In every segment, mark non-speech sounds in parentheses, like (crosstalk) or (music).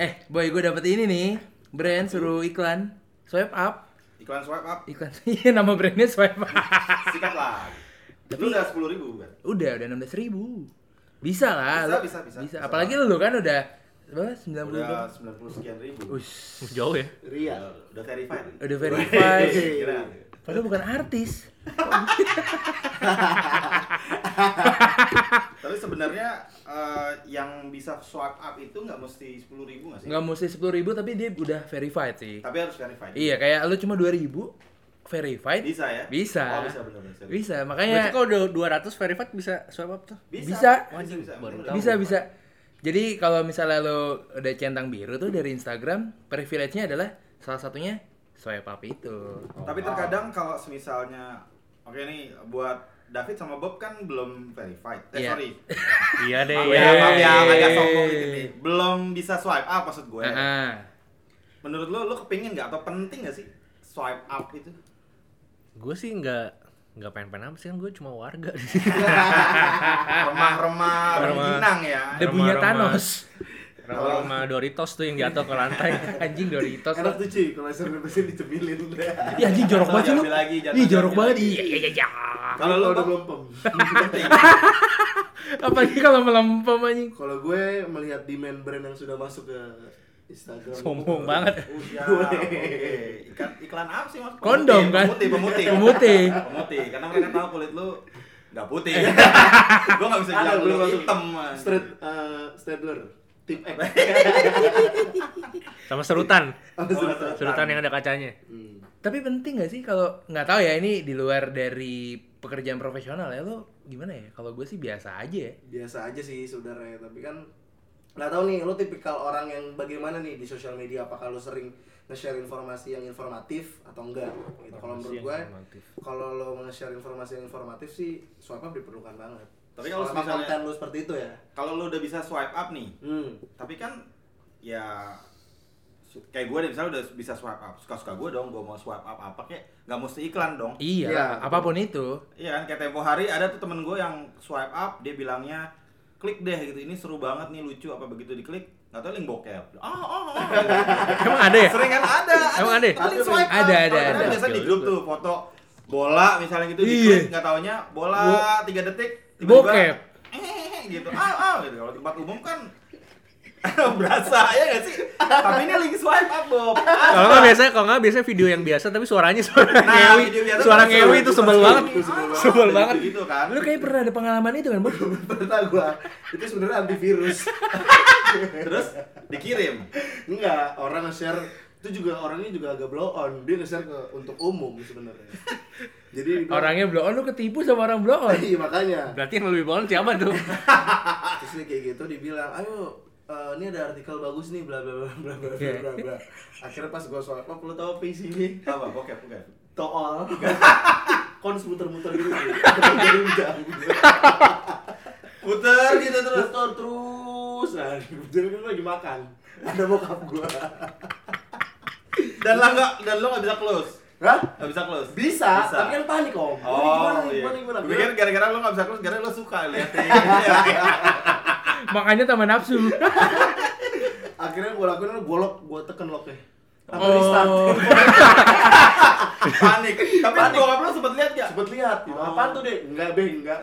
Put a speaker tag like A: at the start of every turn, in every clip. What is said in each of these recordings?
A: Eh, boy, gue dapet ini nih. Brand suruh iklan. Swipe up.
B: Iklan swipe
A: (laughs)
B: up,
A: Iklan. Iya, nama brandnya swipe up.
B: sikat lah. Itu udah sepuluh ribu bukan?
A: (laughs) Udah, udah 16 ribu. Bisa lah.
B: Bisa,
A: lu-
B: bisa, bisa, bisa.
A: Apalagi lu kan udah berapa? 90
B: Udah sembilan puluh sekian ribu. Iya,
A: Ush,
C: Jauh ya.
D: Ria.
B: Udah verified.
A: udah
B: (laughs)
A: verified.
B: Kira.
A: Padahal bukan artis.
B: Tapi sebenarnya eh, yang bisa swipe up itu nggak mesti sepuluh ribu nggak sih?
A: Nggak mesti 10 ribu tapi dia udah verified sih.
B: Tapi harus verified.
A: Iya, kayak lu cuma 2 ribu verified.
B: Bisa ya?
A: Bisa.
B: Oh, bisa benar bisa.
A: Bisa,
C: Berarti
A: makanya
C: kalau udah 200 verified bisa swipe up tuh.
A: Bisa.
B: Bisa. bisa.
C: Baru
B: Bener.
C: tahu.
A: bisa bisa. Jadi kalau misalnya lo udah centang biru tuh dari Instagram, privilege-nya adalah salah satunya swipe up itu.
B: Tapi terkadang kalau semisalnya oke nih buat David sama Bob kan belum verified. Eh
A: Iya.
B: sorry.
C: Iya deh.
B: Maaf
C: ya.
B: ya, maaf ya, agak sombong dikit nih. Belum bisa swipe up maksud gue.
A: Heeh. (laughs)
B: Menurut lo, lo kepingin nggak atau penting nggak sih swipe up
A: (laughs)
B: itu?
C: Gue sih nggak nggak pengen-pengen apa sih kan gue cuma warga.
B: Remah-remah,
C: Remah.
B: rengginang ya.
A: Debunya
C: Remah-remah.
A: Thanos.
C: Rumah Doritos tuh yang jatuh ke lantai.
A: Anjing Doritos.
D: Enak tuh cuy, kalau saya (laughs) pasti dicebilin.
A: Ih anjing jorok
B: Jatuh
A: banget sih lu.
B: diambil lagi, jatuh
A: Ih jorok
B: diambil
A: banget.
B: lagi.
A: Iya iya iya, iya.
B: Kalau lo
D: Kalau udah
B: Bob,
D: melompong.
B: penting.
A: Apalagi kalau melempem anjing.
D: (laughs) Kalau gue melihat demand brand yang sudah masuk ke Instagram.
C: Sombong banget.
B: Oh, ya, oke. Iklan, iklan apa sih mas?
A: Kondom, kan?
B: Pemutih, pemutih.
A: Pemutih. Eh.
B: Pemutih, karena mereka tahu kulit lu nggak putih. (laughs) Gue nggak bisa bilang
D: Ada
B: lu
D: belum masuk
B: hitam.
D: Straight eh, Stadler. Tip (laughs) X.
C: Sama serutan.
D: Oh,
B: serutan.
C: Serutan yang ada kacanya.
D: Hmm.
A: Tapi penting gak sih kalau nggak tahu ya ini di luar dari pekerjaan profesional ya lo gimana ya? Kalau gue sih biasa aja ya.
D: biasa aja sih saudara ya tapi kan nggak tahu nih lu tipikal orang yang bagaimana nih di sosial media apakah lu sering nge-share informasi yang informatif atau enggak gitu kalau menurut gue kalau lo nge-share informasi yang informatif sih swipe up diperlukan banget
B: Tapi kalau
D: Selama
B: misalnya-
D: konten lu seperti itu ya
B: Kalau lu udah bisa swipe up nih,
D: (laughs) hmm
B: tapi kan ya su- kayak gue deh misalnya udah bisa swipe up suka-suka gue dong gue mau swipe up apa kayak nggak mesti iklan dong
A: Iya,
D: Iya,
A: apapun itu.
B: Iya kan, kayak tempo hari ada tuh temen gue yang swipe up, dia bilangnya klik deh gitu, ini seru banget nih lucu apa begitu diklik nggak tahu link bokep. Oh, oh, oh.
C: (laughs) Emang ada ya?
B: Sering kan ada.
C: (laughs) Emang ada ya?
B: Link swipe up.
A: Ada, ada,
B: Kan
A: ada.
B: Biasanya di grup tuh foto bola misalnya gitu
C: Iya.
B: diklik nggak taunya bola tiga detik
A: Bokep.
B: eh, gitu. Ah, ah gitu. Kalau di tempat umum kan (laughs) berasa ya gak sih? Tapi ini link swipe up, Bob.
C: Kalau nggak biasanya kalau nggak biasanya video yang biasa tapi suaranya suara
B: Nah,
C: ngewi.
B: video biasa
C: Suara
B: tuh
C: ngewi
B: seru,
C: itu
B: itu
C: sebel
B: seru.
C: banget.
D: itu sebel banget
C: Sebel banget.
B: Iya, Gitu kan.
A: Lo kayak pernah ada pengalaman itu kan, Bob?
D: pernah gue itu sebenarnya antivirus (laughs)
B: Terus dikirim.
D: enggak orang nge-share itu juga orangnya juga agak blow on dia nge-share ke untuk umum sebenarnya jadi dia-
A: Orangnya blow
C: "Oh,
A: on, lo ketipu sama orang blow on.
D: (laughs) Iya, makanya
C: Berarti yang lebih bolong siapa tuh?
D: terus dia kayak gitu dibilang ayo eh, ini ada artikel bagus nih bla bla bla bla bla bla bla bla akhirnya pas gue swipe up lo tau apa isinya
B: Apa bokep bukan?
D: (laughs) tool kons muter-muter gitu dari jam
B: Puter gitu terus.
D: muter terus nah jadi gue lagi makan ada bokap gue
B: dan lo nggak dan lo nggak bisa close
D: Hah?
B: nggak bisa close
D: Bisa, tapi kan panik om
B: oh
D: gimana,
B: iya
D: gimana, gimana,
B: Gua pikir
D: gimana?
B: gara-gara lo nggak bisa close gara-gara lo suka liatin
D: (laughs)
A: Makanya tambah nafsu.
D: Akhirnya gue lakuin adalah gue lock, gue tekan locknya Aku
A: Oh.
D: restart
B: panik tapi
D: Panik.
B: bokap lo sempet lihat nggak
D: Sempet lihat, gitu.
B: Oh.
D: apaan tuh deh? Enggak, Beng,
B: (laughs)
D: enggak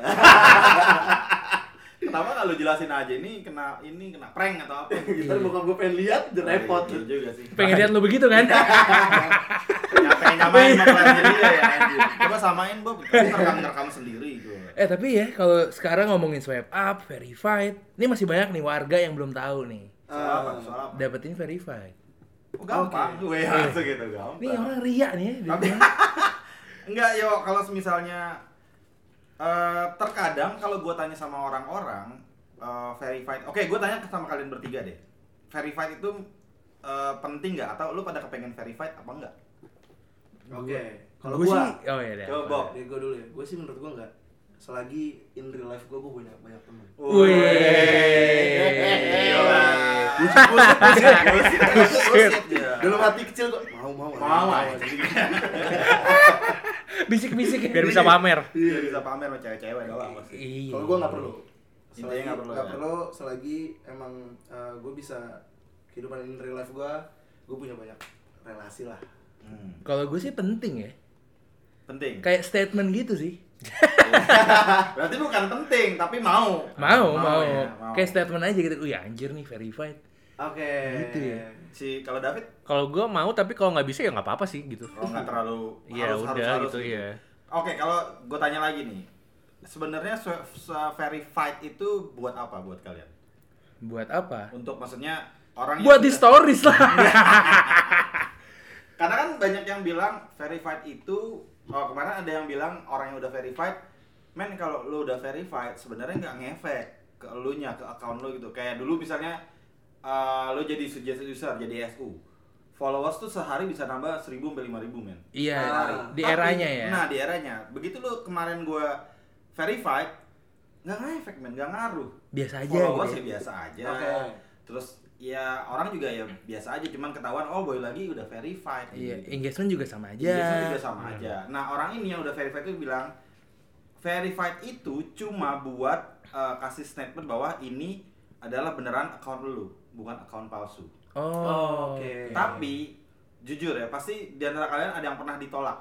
B: kenapa nggak lo jelasin aja ini kena ini kena prank atau apa gitu
D: Ntar bokap gue pengen lihat, udah repot
B: Iya juga sih
A: Pengen lihat lo begitu (laughs) kan?
B: Ya, pengen nyamain sama pelajaran dia ya anjir. coba samain Bob Tapi ngerekam ngerekam sendiri gue
A: Eh tapi ya kalau sekarang ngomongin swipe up, verified, ini masih banyak nih warga yang belum tahu nih.
B: soal apa soal apa
A: Dapetin verified.
D: Eh,
B: Oh, gampang gue ya gitu gampang
A: Nih orang ria nih ya. dia
B: (laughs) Tapi-
A: bilang.
B: Enggak, yo kalau misalnya eh terkadang kalau gue tanya sama orang-orang eh, verified. Oke, gue tanya sama kalian bertiga deh. Verified itu eh, penting nggak atau lu pada kepengen verified apa enggak?
D: Oke, kalau
A: Gua
D: gue
A: sih, oh
C: iya
A: ya
B: Coba, Bob.
D: Dari gue dulu ya, gue sih menurut gue enggak Selagi in real life gue, gue banyak, banyak temen
A: Wih.
B: Gila.
D: Dalam hati kecil gue, mau, mau,
B: Mau gitu. aja.
A: Bisik-bisik ya.
C: Biar bisa pamer.
B: Iya, bisa pamer sama cewek-cewek enggak apa-apa sih.
A: Iya.
D: Kalau gue nggak perlu
B: ya. Intinya nggak perlu,
D: nggak
B: ya?
D: perlu selagi emang gue bisa kehidupan in real life gue gue punya banyak relasi lah
B: Hmm.
A: Kalau gue sih penting ya.
B: Penting.
A: Kayak statement gitu sih.
B: (laughs) Berarti bukan penting, tapi mau.
A: Mau, mau.
B: ya, mau.
A: Kayak statement aja gitu. Wih anjir nih verified.
D: oke
A: Gitu ya.
B: si kalau David
C: Kalau gue mau tapi kalau nggak bisa ya nggak apa-apa sih gitu.
B: kalau Oh, nggak terlalu
C: (laughs) Iya
B: harus, harus,
C: udah
B: harus
C: gitu ya.
B: Oke, kalau gue tanya lagi nih. Sebenarnya se- se- verified itu buat apa buat kalian?
A: Buat apa?
B: Untuk maksudnya orang yang
A: Buat di
B: sudah-
A: stories lah.
B: Karena kan banyak yang bilang verified itu oh, kemarin ada yang bilang orang yang udah verified, men kalau lu udah verified sebenarnya nggak ngefek ke elunya ke account lu gitu. Kayak dulu misalnya eh, lu jadi suggested user, jadi SU. Followers tuh sehari bisa nambah 1000 sampai 5000, men.
A: Iya,
D: Ah.
A: di
B: Nah, Tapi-
A: eranya ya.
B: Nah, di eranya. Begitu lu kemarin gua verified nggak ngefek, men, nggak ngaruh.
A: Biasa aja
B: Followers
A: gitu.
B: ya
A: ya.
B: biasa aja.
D: Oke.
B: Terus ya orang juga ya biasa aja, cuman ketahuan oh boy lagi udah verified.
A: Iya,
B: gitu.
A: engagement juga sama aja.
B: Biasanya juga sama aja. Nah, orang ini yang udah verified itu bilang verified itu cuma buat eh, kasih statement bahwa ini adalah beneran account lu, bukan account palsu.
A: Oh,
D: oke
B: Tapi jujur ya, pasti di antara kalian ada yang pernah ditolak.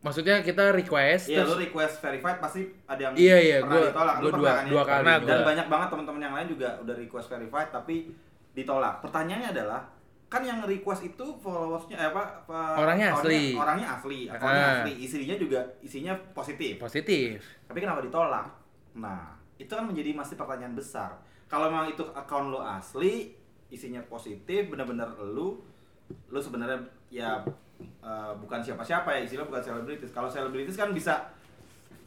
A: Maksudnya kita request
B: Iya,
A: terus
B: lu request verified pasti ada yang
A: Iya, iya,
B: pernah
A: gua-
B: ditolak. Lu
A: gua dua-
B: pernah kan ya?
A: dua kali
B: Dan
A: gua.
B: banyak banget teman-teman yang lain juga udah request verified tapi ditolak. Pertanyaannya adalah kan yang request itu followersnya eh, apa, apa
A: Orangnya
B: accountnya-
A: asli.
B: orangnya asli, accountnya
A: Ah.
B: asli, isinya juga isinya positif.
A: positif.
B: Tapi kenapa ditolak? Nah, itu kan menjadi masih pertanyaan besar. Kalau memang itu account lo asli, isinya positif, bener-bener lu, lu sebenarnya ya eh, bukan siapa-siapa ya, istilah bukan selebritis. Kalau selebritis kan bisa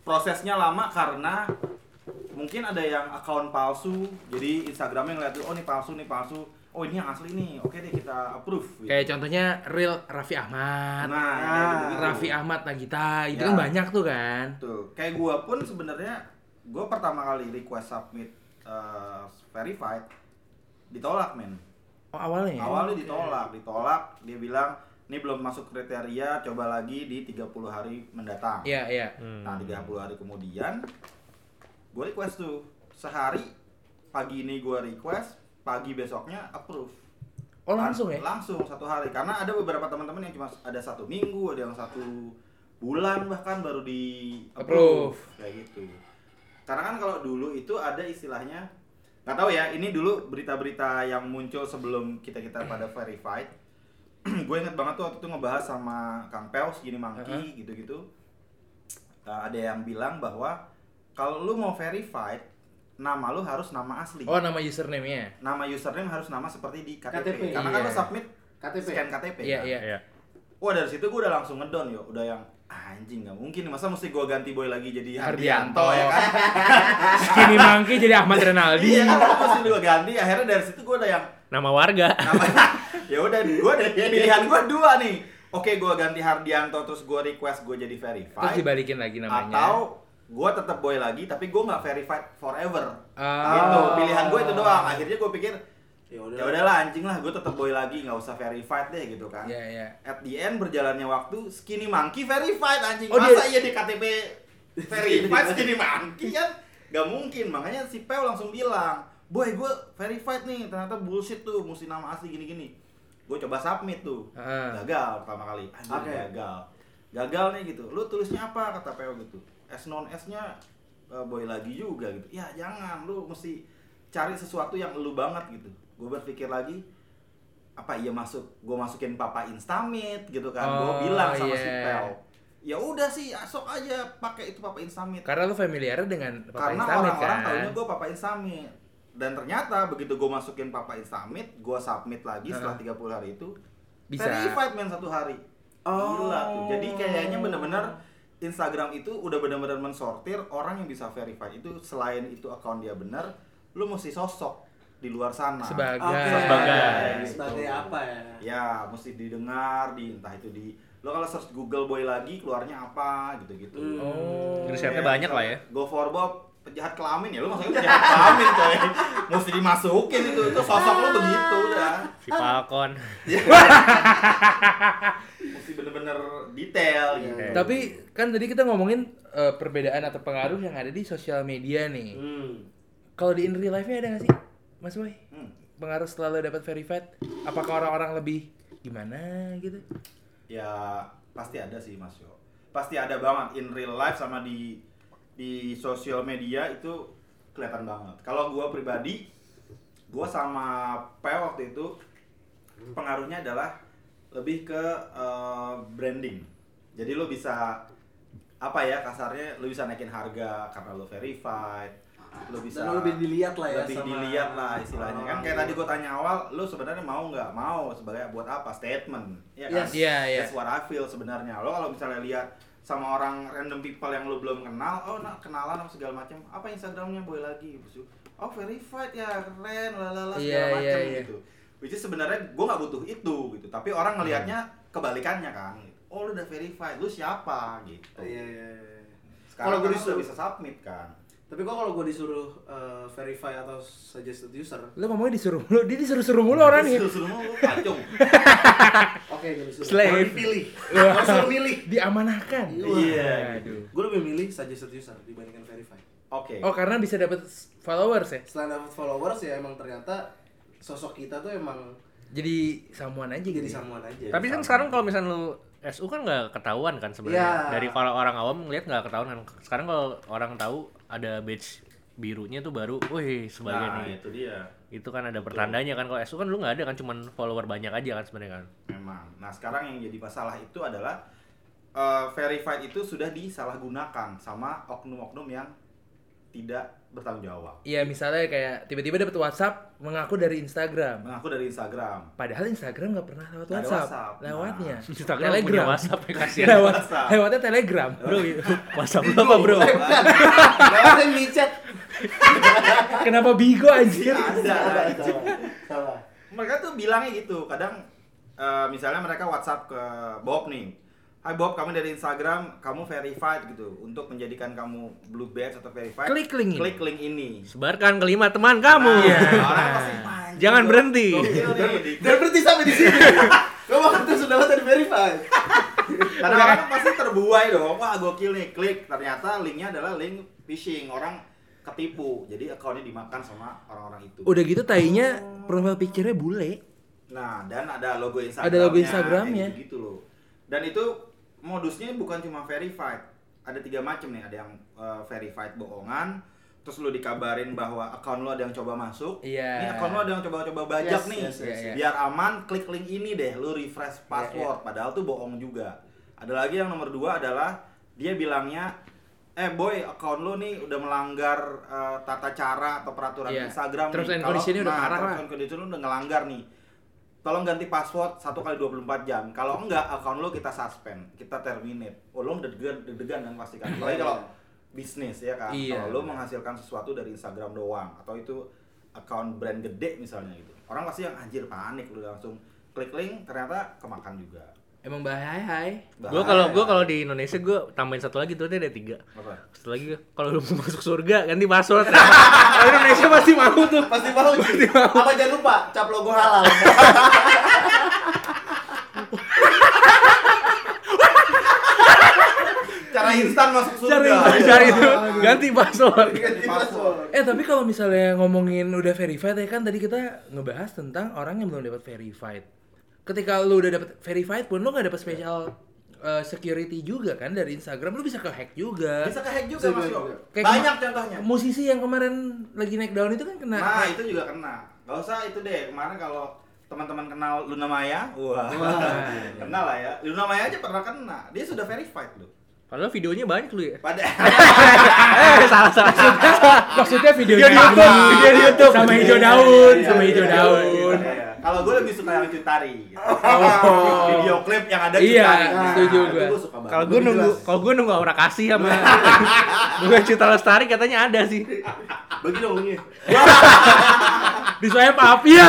B: prosesnya lama karena mungkin ada yang account palsu, jadi Instagramnya ngeliat oh ini palsu, ini palsu, oh ini yang asli nih, oke deh kita approve. gitu.
A: Kayak contohnya real Raffi Ahmad.
B: nah,
D: Ah,
B: kayak gitu-gitu.
A: Raffi Ahmad Nagita, itu
B: Ya.
A: kan banyak tuh kan.
B: Tuh, kayak gua pun sebenarnya gua pertama kali request submit uh, verified ditolak men.
A: Oh, awalnya ya.
B: Awalnya ditolak, ditolak dia bilang ini belum masuk kriteria, coba lagi di 30 hari mendatang.
A: Iya, iya.
B: Nah, 30 hari kemudian gua request tuh sehari pagi ini gua request, pagi besoknya approve.
A: Oh, langsung ya?
B: Kan, Langsung satu hari karena ada beberapa teman-teman yang cuma ada satu minggu, ada yang satu bulan bahkan baru di
A: Approve.
B: kayak gitu. Karena kan kalau dulu itu ada istilahnya nggak tahu ya ini dulu berita-berita yang muncul sebelum kita kita pada verified. (clears throat) gue inget banget tuh waktu itu ngebahas sama Kang Peos gini mangki
A: Uh-huh.
B: gitu-gitu. Eh, ada yang bilang bahwa kalau lu mau verified nama lu harus nama asli
A: Oh, nama username-nya.
B: nama username harus nama seperti di KTP,
D: KTP,
B: karena kan
A: iya.
B: lo submit
D: KTP.
B: scan KTP
A: Iya,
B: kan?
A: iya.
C: Iya.
B: wah dari situ gue udah langsung ngedown yo udah yang "Ah, anjing nggak mungkin masa mesti gue ganti boy lagi jadi
A: Hardianto.
B: Iya, Hardianto ya kan
A: Skinny Monkey jadi Ahmad Renaldi.
B: iya kan mesti gue ganti akhirnya dari situ gue udah yang
C: Nama warga.
B: (laughs) ya udah gue ada
A: Iya.
B: pilihan gue dua nih oke gue ganti Hardianto terus gue request gue jadi
A: Terus
B: verified
A: dibalikin lagi namanya.
B: atau gue tetap boy lagi tapi gue nggak verified forever
A: Ah.
B: gitu pilihan gue itu doang akhirnya gue pikir
D: ya udah
B: ya udahlah anjing lah gue tetap boy lagi nggak usah verified deh gitu kan
A: Iya, iya.
B: at the end berjalannya waktu skinny monkey verified anjing
A: Oh, dia-
B: masa iya di
A: (laughs)
B: KTP verified skinny monkey kan gak mungkin makanya si Peo langsung bilang boy gue verified nih ternyata bullshit tuh mesti nama asli gini gini gue coba submit tuh
A: Ah.
B: gagal pertama kali anjing
D: Oke.
B: gagal gagal nih gitu lu tulisnya apa kata Peo gitu S non S nya eh, boy lagi juga gitu ya jangan lu mesti cari sesuatu yang lu banget gitu gue berpikir lagi apa iya masuk gue masukin papa instamit gitu kan
A: Oh,
B: gue bilang sama si
A: iya.
B: Pel ya udah sih asok aja pakai itu papa instamit
A: Karena lu familiar dengan Kan Papa
B: karena
A: Instamit
B: orang-orang
A: kan.
B: taunya gue papa instamit dan ternyata begitu gue masukin papa instamit gue submit lagi setelah 30 hari itu
A: Bisa.
B: verified men satu hari
D: Oh.
B: gila tuh jadi kayaknya bener-bener Instagram itu udah bener-bener mensortir orang yang bisa verified itu selain itu account dia bener lu mesti sosok di luar sana
A: Sebagai
D: Oke.
C: Sebagai.
D: sebagai apa ya
B: ya mesti didengar di entah itu di lo kalau search Google boy lagi keluarnya apa gitu-gitu Iya,
D: Hmm.
A: Oh.
C: Inisialnya banyak lah ya.
B: Go for Bob penjahat kelamin ya lu maksudnya penjahat (laughs) kelamin coy mesti dimasukin itu itu sosok lu begitu udah
C: Si Falcon.
B: mesti bener-bener detail gitu
D: Iya.
A: Tapi kan tadi kita ngomongin eh, perbedaan atau pengaruh yang ada di sosial media nih.
D: hmm
A: Kalau di in real life-nya ada nggak sih? Mas Boy?
B: Hmm.
A: pengaruh setelah lo dapat verified? Apakah orang-orang lebih gimana gitu?
B: ya pasti ada sih Mas Yo. Pasti ada banget in real life sama di di sosial media itu kelihatan banget. Kalau gua pribadi, gua sama P waktu itu pengaruhnya adalah lebih ke eh, branding. Jadi lo bisa apa ya kasarnya lo bisa naikin harga karena lo verified, lo bisa
D: Dan lo lebih dilihat lah ya
B: lebih
D: sama-
B: dilihat lah istilahnya kan
D: orang.
B: kayak tadi gue tanya awal lo sebenarnya mau nggak mau sebagai buat apa statement ya kan
D: Yes.
A: Iya, iya.
B: That's what I feel sebenarnya lo kalau misalnya lihat sama orang random people yang lo belum kenal oh nak kenalan apa segala macam apa instagramnya boy lagi Terus lu, oh verified ya keren lalala
A: Iya, iya,
B: segala macam
A: iya.
B: gitu which is sebenarnya gue nggak butuh itu gitu tapi orang ngelihatnya kebalikannya kan oh lo udah verified lu siapa gitu
D: Iya, iya, iya.
B: sekarang kan
D: Kalau gue
B: lo udah
D: disuruh,
B: bisa submit kan
D: tapi kok kalau gue disuruh eh, verify atau suggested user,
A: Lo ngomongnya disuruh mulu, dia disuruh-suruh mulu orang ya.
B: Disuruh-suruh mulu, kacung
D: oke gue disuruh.
A: Slave.
D: Gue dipilih, gue disuruh milih.
A: Diamanahkan.
B: Iya,
A: Aduh.
D: Gue lebih milih suggested user dibandingkan verify.
B: Oke.
A: Oh karena bisa dapat followers ya?
D: Selain dapat followers ya emang ternyata sosok kita tuh emang
A: Jadi samuan aja gitu.
B: Iya.
D: jadi
A: ya?
D: samuan aja.
C: Tapi kan sekarang kalau misalnya lu SU kan nggak ketahuan kan sebenarnya.
D: Iya.
C: Dari kalau orang awam ngeliat nggak ketahuan kan. Sekarang kalau orang tahu ada badge birunya tuh baru, wih sebagai
B: Nah,
C: nih.
B: itu dia.
C: Itu kan ada pertandanya kan kalau SU kan lu nggak ada kan cuman follower banyak aja kan sebenarnya kan.
B: Memang. Nah, sekarang yang jadi masalah itu adalah eh, verified itu sudah disalahgunakan sama oknum-oknum yang tidak bertanggung jawab.
A: Iya misalnya kayak tiba-tiba dapat WhatsApp mengaku dari Instagram.
B: Mengaku dari Instagram.
A: Padahal Instagram nggak pernah lewat
B: Nggak ada
A: WhatsApp.
B: WhatsApp.
A: Lewatnya
C: Instagram punya
A: Telegram.
C: WhatsApp
A: (laughs)
C: ya kasihan.
A: Lewat,
B: WhatsApp.
A: lewatnya Telegram.
C: Bro, WhatsApp lu apa bro?
D: Eh, bukan.
A: (laughs)
D: Gak ada
B: (laughs)
D: micet.
A: Kenapa Bigo anjir?
B: Ada,
D: Salah,
B: ada.
D: salah, salah.
B: Mereka tuh bilangnya gitu. Kadang eh, misalnya mereka WhatsApp ke Bob nih. Hai Bob, kami dari Instagram, kamu verified gitu. Untuk menjadikan kamu blue badge atau verified,
A: Klik link ini.
B: Klik link ini.
C: Sebarkan kelima teman kamu.
A: Iya.
B: Nah, orang pasti, "Anjing,
C: Jangan
B: gua-
C: berhenti."
B: gokil nih.
D: Dan berhenti sampai di
B: (laughs)
D: sini. Kamu waktu sudah dapat dari verify.
B: Karena orang kan pasti terbuai dong. Wah, gokil nih, klik. Ternyata linknya adalah link phishing. Orang ketipu. Jadi akunnya dimakan sama orang-orang itu.
A: Udah gitu tainya profile picture-nya bule.
B: Nah, dan ada logo Instagram.
A: Ada logo Instagramnya.
B: Gitu loh. Dan itu modusnya bukan cuma verified. Ada tiga macam nih. Ada yang eh, verified bohongan. Terus lu dikabarin bahwa akun lu ada yang coba masuk.
A: Iya.
B: Ini akun lu ada yang coba-coba bajak
D: Yes,
B: nih.
D: yes, yes,
A: yes. Iya,
B: Biar aman, klik link ini deh. Lu refresh password. Padahal tuh bohong juga. Ada lagi yang nomor dua adalah dia bilangnya eh boy akun lu nih udah melanggar eh, tata cara atau peraturan
A: Iya.
B: Instagram
A: Terms
B: nih.
A: and
B: Kalau-
A: condition-nya udah
B: nah,
A: parah
B: terms
A: lah.
B: and condition lu udah ngelanggar nih tolong ganti password 1 kali 24 jam. Kalau enggak, account lo kita suspend, kita terminate. Oh, lo deg-degan, deg-degan kan pastikan. Apalagi kalau bisnis ya kan.
A: Iya.
B: Kalau lo menghasilkan sesuatu dari Instagram doang atau itu account brand gede misalnya gitu. Orang pasti yang anjir panik lo langsung klik link ternyata kemakan juga.
A: Emang bahaya hai.
B: Bahaya.
C: Gue kalau gua kalau di Indonesia gue tambahin satu lagi tuh ada tiga.
B: Apa?
C: Satu lagi kalau lu mau masuk surga ganti (laughs) password. Kalau Indonesia pasti mau tuh.
D: Pasti mau. Ci. Apa jangan lupa cap logo halal.
B: (laughs) cara instan masuk
A: Cari
B: surga.
C: Cari itu ganti password.
D: Ganti password.
A: Eh tapi kalau misalnya ngomongin udah verified ya kan tadi kita ngebahas tentang orang yang belum dapat verified. Ketika lu udah dapat verified pun lu nggak dapat special uh, security juga kan dari Instagram lu bisa ke hack juga.
B: Bisa ke hack juga
D: Bisa
B: Mas
D: juga.
B: Yo.
A: Kayak
B: Banyak
A: kema-
B: contohnya.
A: Musisi yang kemarin lagi naik down itu kan kena.
B: Nah, itu juga kena. Gak usah itu deh. Kemarin kalau teman-teman kenal Luna Maya, wah. (laughs) kenal lah ya. Luna Maya aja pernah kena. Dia sudah verified loh.
C: Padahal videonya banyak lu
A: Iya.
C: ya.
B: Pada
C: Eh salah salah.
A: Maksudnya Iya, video
C: Video di
A: nyanyi,
C: YouTube, video di YouTube.
A: sama hijau daun,
B: Iya,
A: sama
B: iya,
A: hijau
B: iya,
A: daun.
B: iya, (laughs) iya. Kalau gue lebih suka yang cutari. gitu.
A: Oh.
B: Video klip yang ada
A: Iya,
B: cutari.
A: setuju
B: itu
A: gua.
B: gua suka banget.
C: Kalau gue nunggu kalau gue nunggu aura kasih (laughs) sama gue Cita Lestari katanya ada sih.
D: Bagi dong iya. ini.
A: Di saya apa
C: Iya.
A: ya?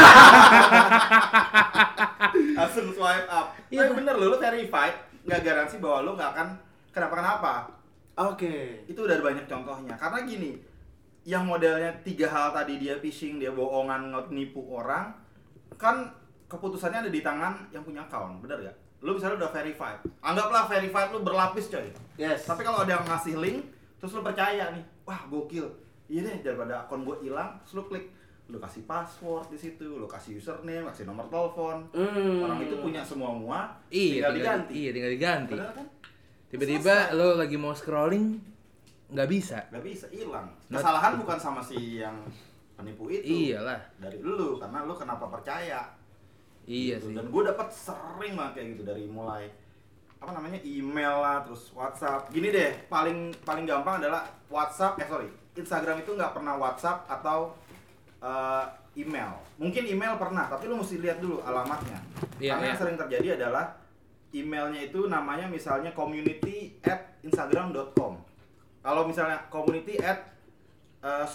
B: langsung swipe up.
A: Iya,
B: Tapi bener loh, lo verified. Gak garansi bahwa lo gak akan kenapa-kenapa.
D: Oke.
B: itu udah ada banyak contohnya karena gini yang modelnya tiga hal tadi dia phishing dia bohongan ngot- nipu orang kan keputusannya ada di tangan yang punya account bener gak? lu misalnya udah verified anggaplah verified lu berlapis coy
D: Yes.
B: tapi kalau ada yang ngasih link terus lu percaya nih wah gokil iya deh daripada akun gue hilang terus lu klik lu kasih password di situ, lu kasih username, kasih nomor telepon.
D: Hmm.
B: Orang itu punya semua semua,
A: Iya,
B: tinggal diganti.
A: Iya, tinggal diganti.
B: Padahal kan
A: Tiba-tiba lo lagi mau scrolling nggak bisa.
B: nggak bisa hilang. Kesalahan bukan sama si yang penipu itu.
A: Iyalah.
B: Dari lu karena lu kenapa percaya?
A: Iya sih.
B: gitu. Dan gue dapat sering banget kayak gitu dari mulai apa namanya email lah, terus WhatsApp. Gini deh, paling paling gampang adalah WhatsApp. Eh sorry, Instagram itu nggak pernah WhatsApp atau eh, email. Mungkin email pernah, tapi lu mesti lihat dulu alamatnya.
A: Iya,
B: Karena
A: iya.
B: yang sering terjadi adalah emailnya itu namanya misalnya community at instagram.com. Kalau misalnya community at eh,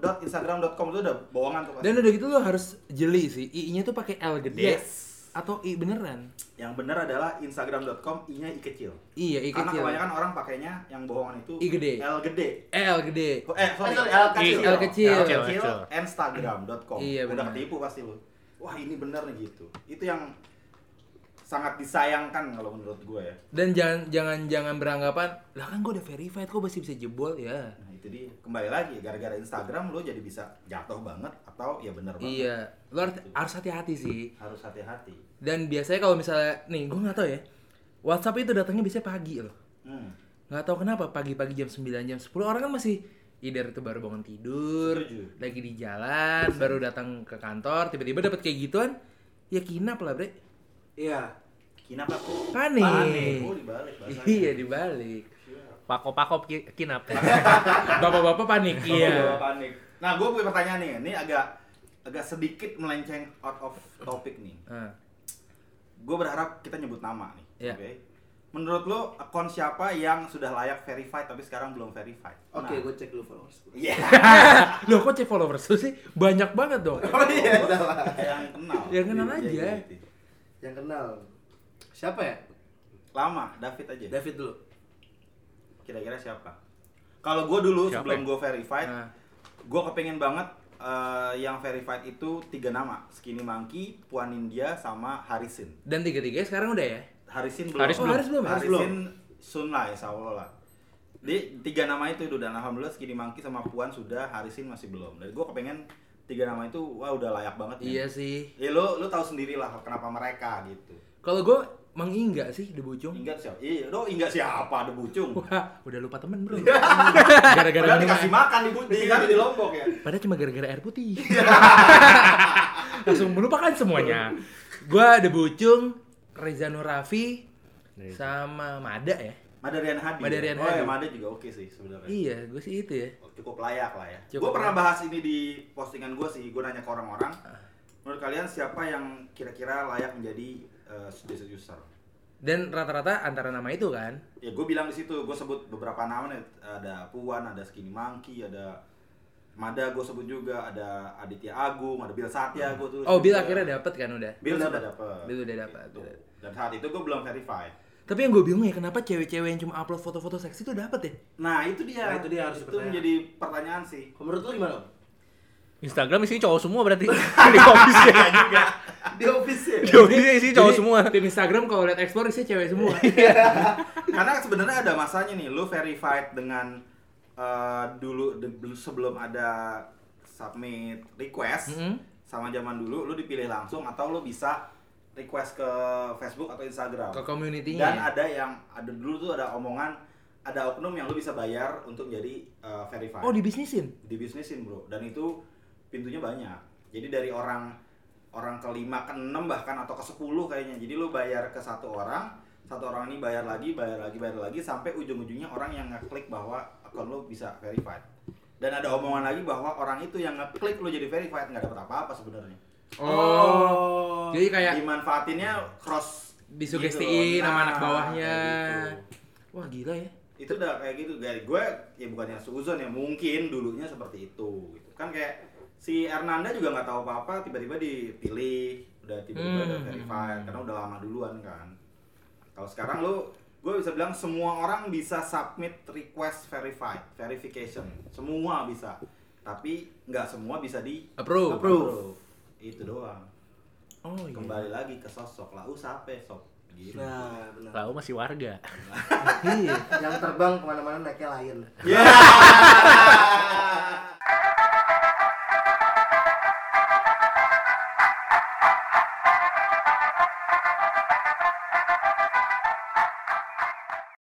B: secure.instagram.com itu udah bohongan tuh pasti.
A: Dan udah gitu lo harus jeli sih. I-nya tuh pakai L gede
B: Yes.
A: atau I beneran?
B: Yang benar adalah instagram.com i-nya i kecil.
A: Iya, I
B: Karena
A: kecil.
B: kebanyakan orang pakainya yang bohongan itu
A: I gede.
B: L gede.
A: L gede.
B: Oh, eh, sorry,
D: Eh, sorry,
B: L
D: L
A: kecil.
B: kecil.
A: L kecil.
B: L
C: Kecil,
B: kecil,
C: kecil.
B: instagram.com.
A: Iya,
B: Udah
A: benar.
B: ketipu pasti lu. Wah, ini bener nih gitu. Itu yang sangat disayangkan kalau menurut gue ya.
A: Dan jangan jangan jangan beranggapan, lah kan gue udah verified, kok masih bisa jebol ya.
B: Nah, itu dia. Kembali lagi gara-gara Instagram lu jadi bisa jatuh banget atau ya bener banget.
A: Iya, lo harus- harus hati-hati sih.
B: Harus hati-hati.
A: Dan biasanya kalau misalnya, nih gue nggak tahu ya, WhatsApp itu datangnya biasanya pagi loh.
B: Hmm.
A: Nggak tahu kenapa pagi-pagi jam 9 jam 10 orang kan masih either itu baru bangun tidur,
B: Setuju.
A: lagi di jalan, baru datang ke kantor, tiba-tiba dapat kayak gituan, ya kinap lah bre.
D: Iya.
B: Kinap aku.
A: Panik.
B: Oh, dibalik bahasanya.
A: iya dibalik.
C: Pakop-pakop ki- kinap.
A: Bapak-bapak panik.
B: Iya.
A: iya.
B: panik. Nah, gue punya pertanyaan nih. Ini agak agak sedikit melenceng out of topic nih.
A: Ah,
B: Gue berharap kita nyebut nama nih.
A: Iya.
B: Oke. Menurut lo akun siapa yang sudah layak verified tapi sekarang belum verified?
D: Oke,
B: Nah.
D: gue cek dulu followers.
B: (laughs)
D: gue.
A: (laughs)
B: Iya.
A: Loh kok cek followers lu sih? Banyak banget dong.
D: Oh iya, salah.
B: yang kenal.
A: Yang kenal
B: Iya,
A: aja.
B: iya, iya.
D: Yang kenal. Siapa ya?
B: Lama, David aja.
D: David dulu.
B: Kira-kira siapa? Kalau gue dulu
C: Siapa
B: sebelum
C: ya?
B: gue verified,
A: Nah.
B: gue kepengen banget eh, yang verified itu tiga nama, Skinny Monkey, Puan India, sama Harisin.
A: Dan tiga-tiganya sekarang udah ya?
B: Harisin belum.
C: Haris Oh, belum.
A: Haris belum ya?
B: Harisin
A: Haris
B: Sun lah ya, insya Allah lah. Jadi tiga nama itu udah dan alhamdulillah Skinny Monkey sama Puan sudah, Harisin masih belum. Dan gue kepengen tiga nama itu wah udah layak banget. men.
A: Iya sih.
B: Ya lo lo tahu sendiri lah kenapa mereka gitu.
A: Kalau gue mengingga sih di Bucung.
B: Ingat siapa? Iya, lo ingat siapa ada
A: (laughs)
B: bucung.
A: Wah, udah lupa temen bro. Gara-gara
B: Iya. Padahal
A: minum
B: dikasih
A: air.
B: makan di, bu- di, di, di Lombok ya.
A: Padahal cuma gara-gara air putih.
B: Iya.
A: (laughs) Langsung melupakan semuanya. Gue ada Bucung, Reza Nur Raffi, sama Mada ya.
B: Mada Rian Hadi.
A: Mada Rian
B: oh, ya,
A: Hadi.
B: Mada juga oke sih sebenarnya.
A: Iya, gue sih itu ya.
B: cukup layak lah ya.
A: Cukup
B: Gue pernah bahas ini di postingan gue sih, gue nanya ke orang-orang. Menurut kalian siapa yang kira-kira layak menjadi eh, suggested user?
A: Dan rata-rata antara nama itu kan.
B: Ya gue bilang di situ, gue sebut beberapa nama nih, ada Puan, ada Skinny Monkey, ada Mada gue sebut juga, ada Aditya Agung, ada Bill Satya gue tulis.
A: Oh, Bill
B: juga.
A: akhirnya dapet kan udah.
B: Bill sudah dapet.
A: Bill udah dapet,
B: Gitu.
A: udah.
B: Dan saat itu gue belum verify.
A: Tapi yang gue bingung ya kenapa cewek-cewek yang cuma upload foto-foto seksi itu dapat ya?
B: Nah itu dia.
D: Nah, itu dia harus
B: itu
D: dipertanyakan.
B: menjadi pertanyaan sih.
D: Kalau Menurut lu gimana? Om? (laughs)
C: Instagram isinya cowok semua (laughs) berarti. Di office-nya (laughs) juga.
D: Di office ya?
C: Di office-nya isinya cowok
A: Jadi,
C: semua.
A: Tim Instagram kalau lihat explore isinya cewek semua.
B: Karena sebenarnya ada masanya nih, lu verified dengan eh, dulu de- sebelum ada submit request
A: Mhm.
B: sama zaman dulu, lu dipilih langsung atau lu bisa request ke Facebook atau Instagram.
A: Ke community-nya
B: Dan
A: ya?
B: ada yang ada dulu tuh ada omongan ada oknum yang lu bisa bayar untuk jadi eh, verified.
A: oh, dibisnisin.
B: dibisnisin bro dan itu pintunya banyak jadi dari orang orang kelima keenam bahkan atau ke sepuluh kayaknya jadi lu bayar ke satu orang satu orang ini bayar lagi bayar lagi bayar lagi sampai ujung-ujungnya orang yang ngeklik bahwa akun lu bisa verified dan ada omongan lagi bahwa orang itu yang ngeklik lu jadi verified nggak dapat apa-apa sebenarnya
A: Oh. Jadi kayak
B: dimanfaatinnya cross
A: disugestiin
B: gitu.
A: sama anak
B: Nah,
A: bawahnya.
B: kayak gitu.
A: Wah, gila ya.
B: itu udah kayak gitu dari gue ya bukannya suzon ya mungkin dulunya seperti itu gitu kan kayak si Hernanda juga nggak tahu apa-apa tiba-tiba dipilih udah tiba-tiba udah
A: Hmm.
B: verified karena udah lama duluan kan kalau sekarang lu gue bisa bilang semua orang bisa submit request verified verification semua bisa tapi nggak semua bisa di
A: Approve.
B: approve itu doang
A: Oh, iya.
B: kembali lagi ke sosok lah usape sob gitu
D: Nah, benar.
C: Lalu masih
A: Iya.
C: warga.
B: Ya.
D: Yang terbang kemana-mana naiknya lion.
B: Yeah.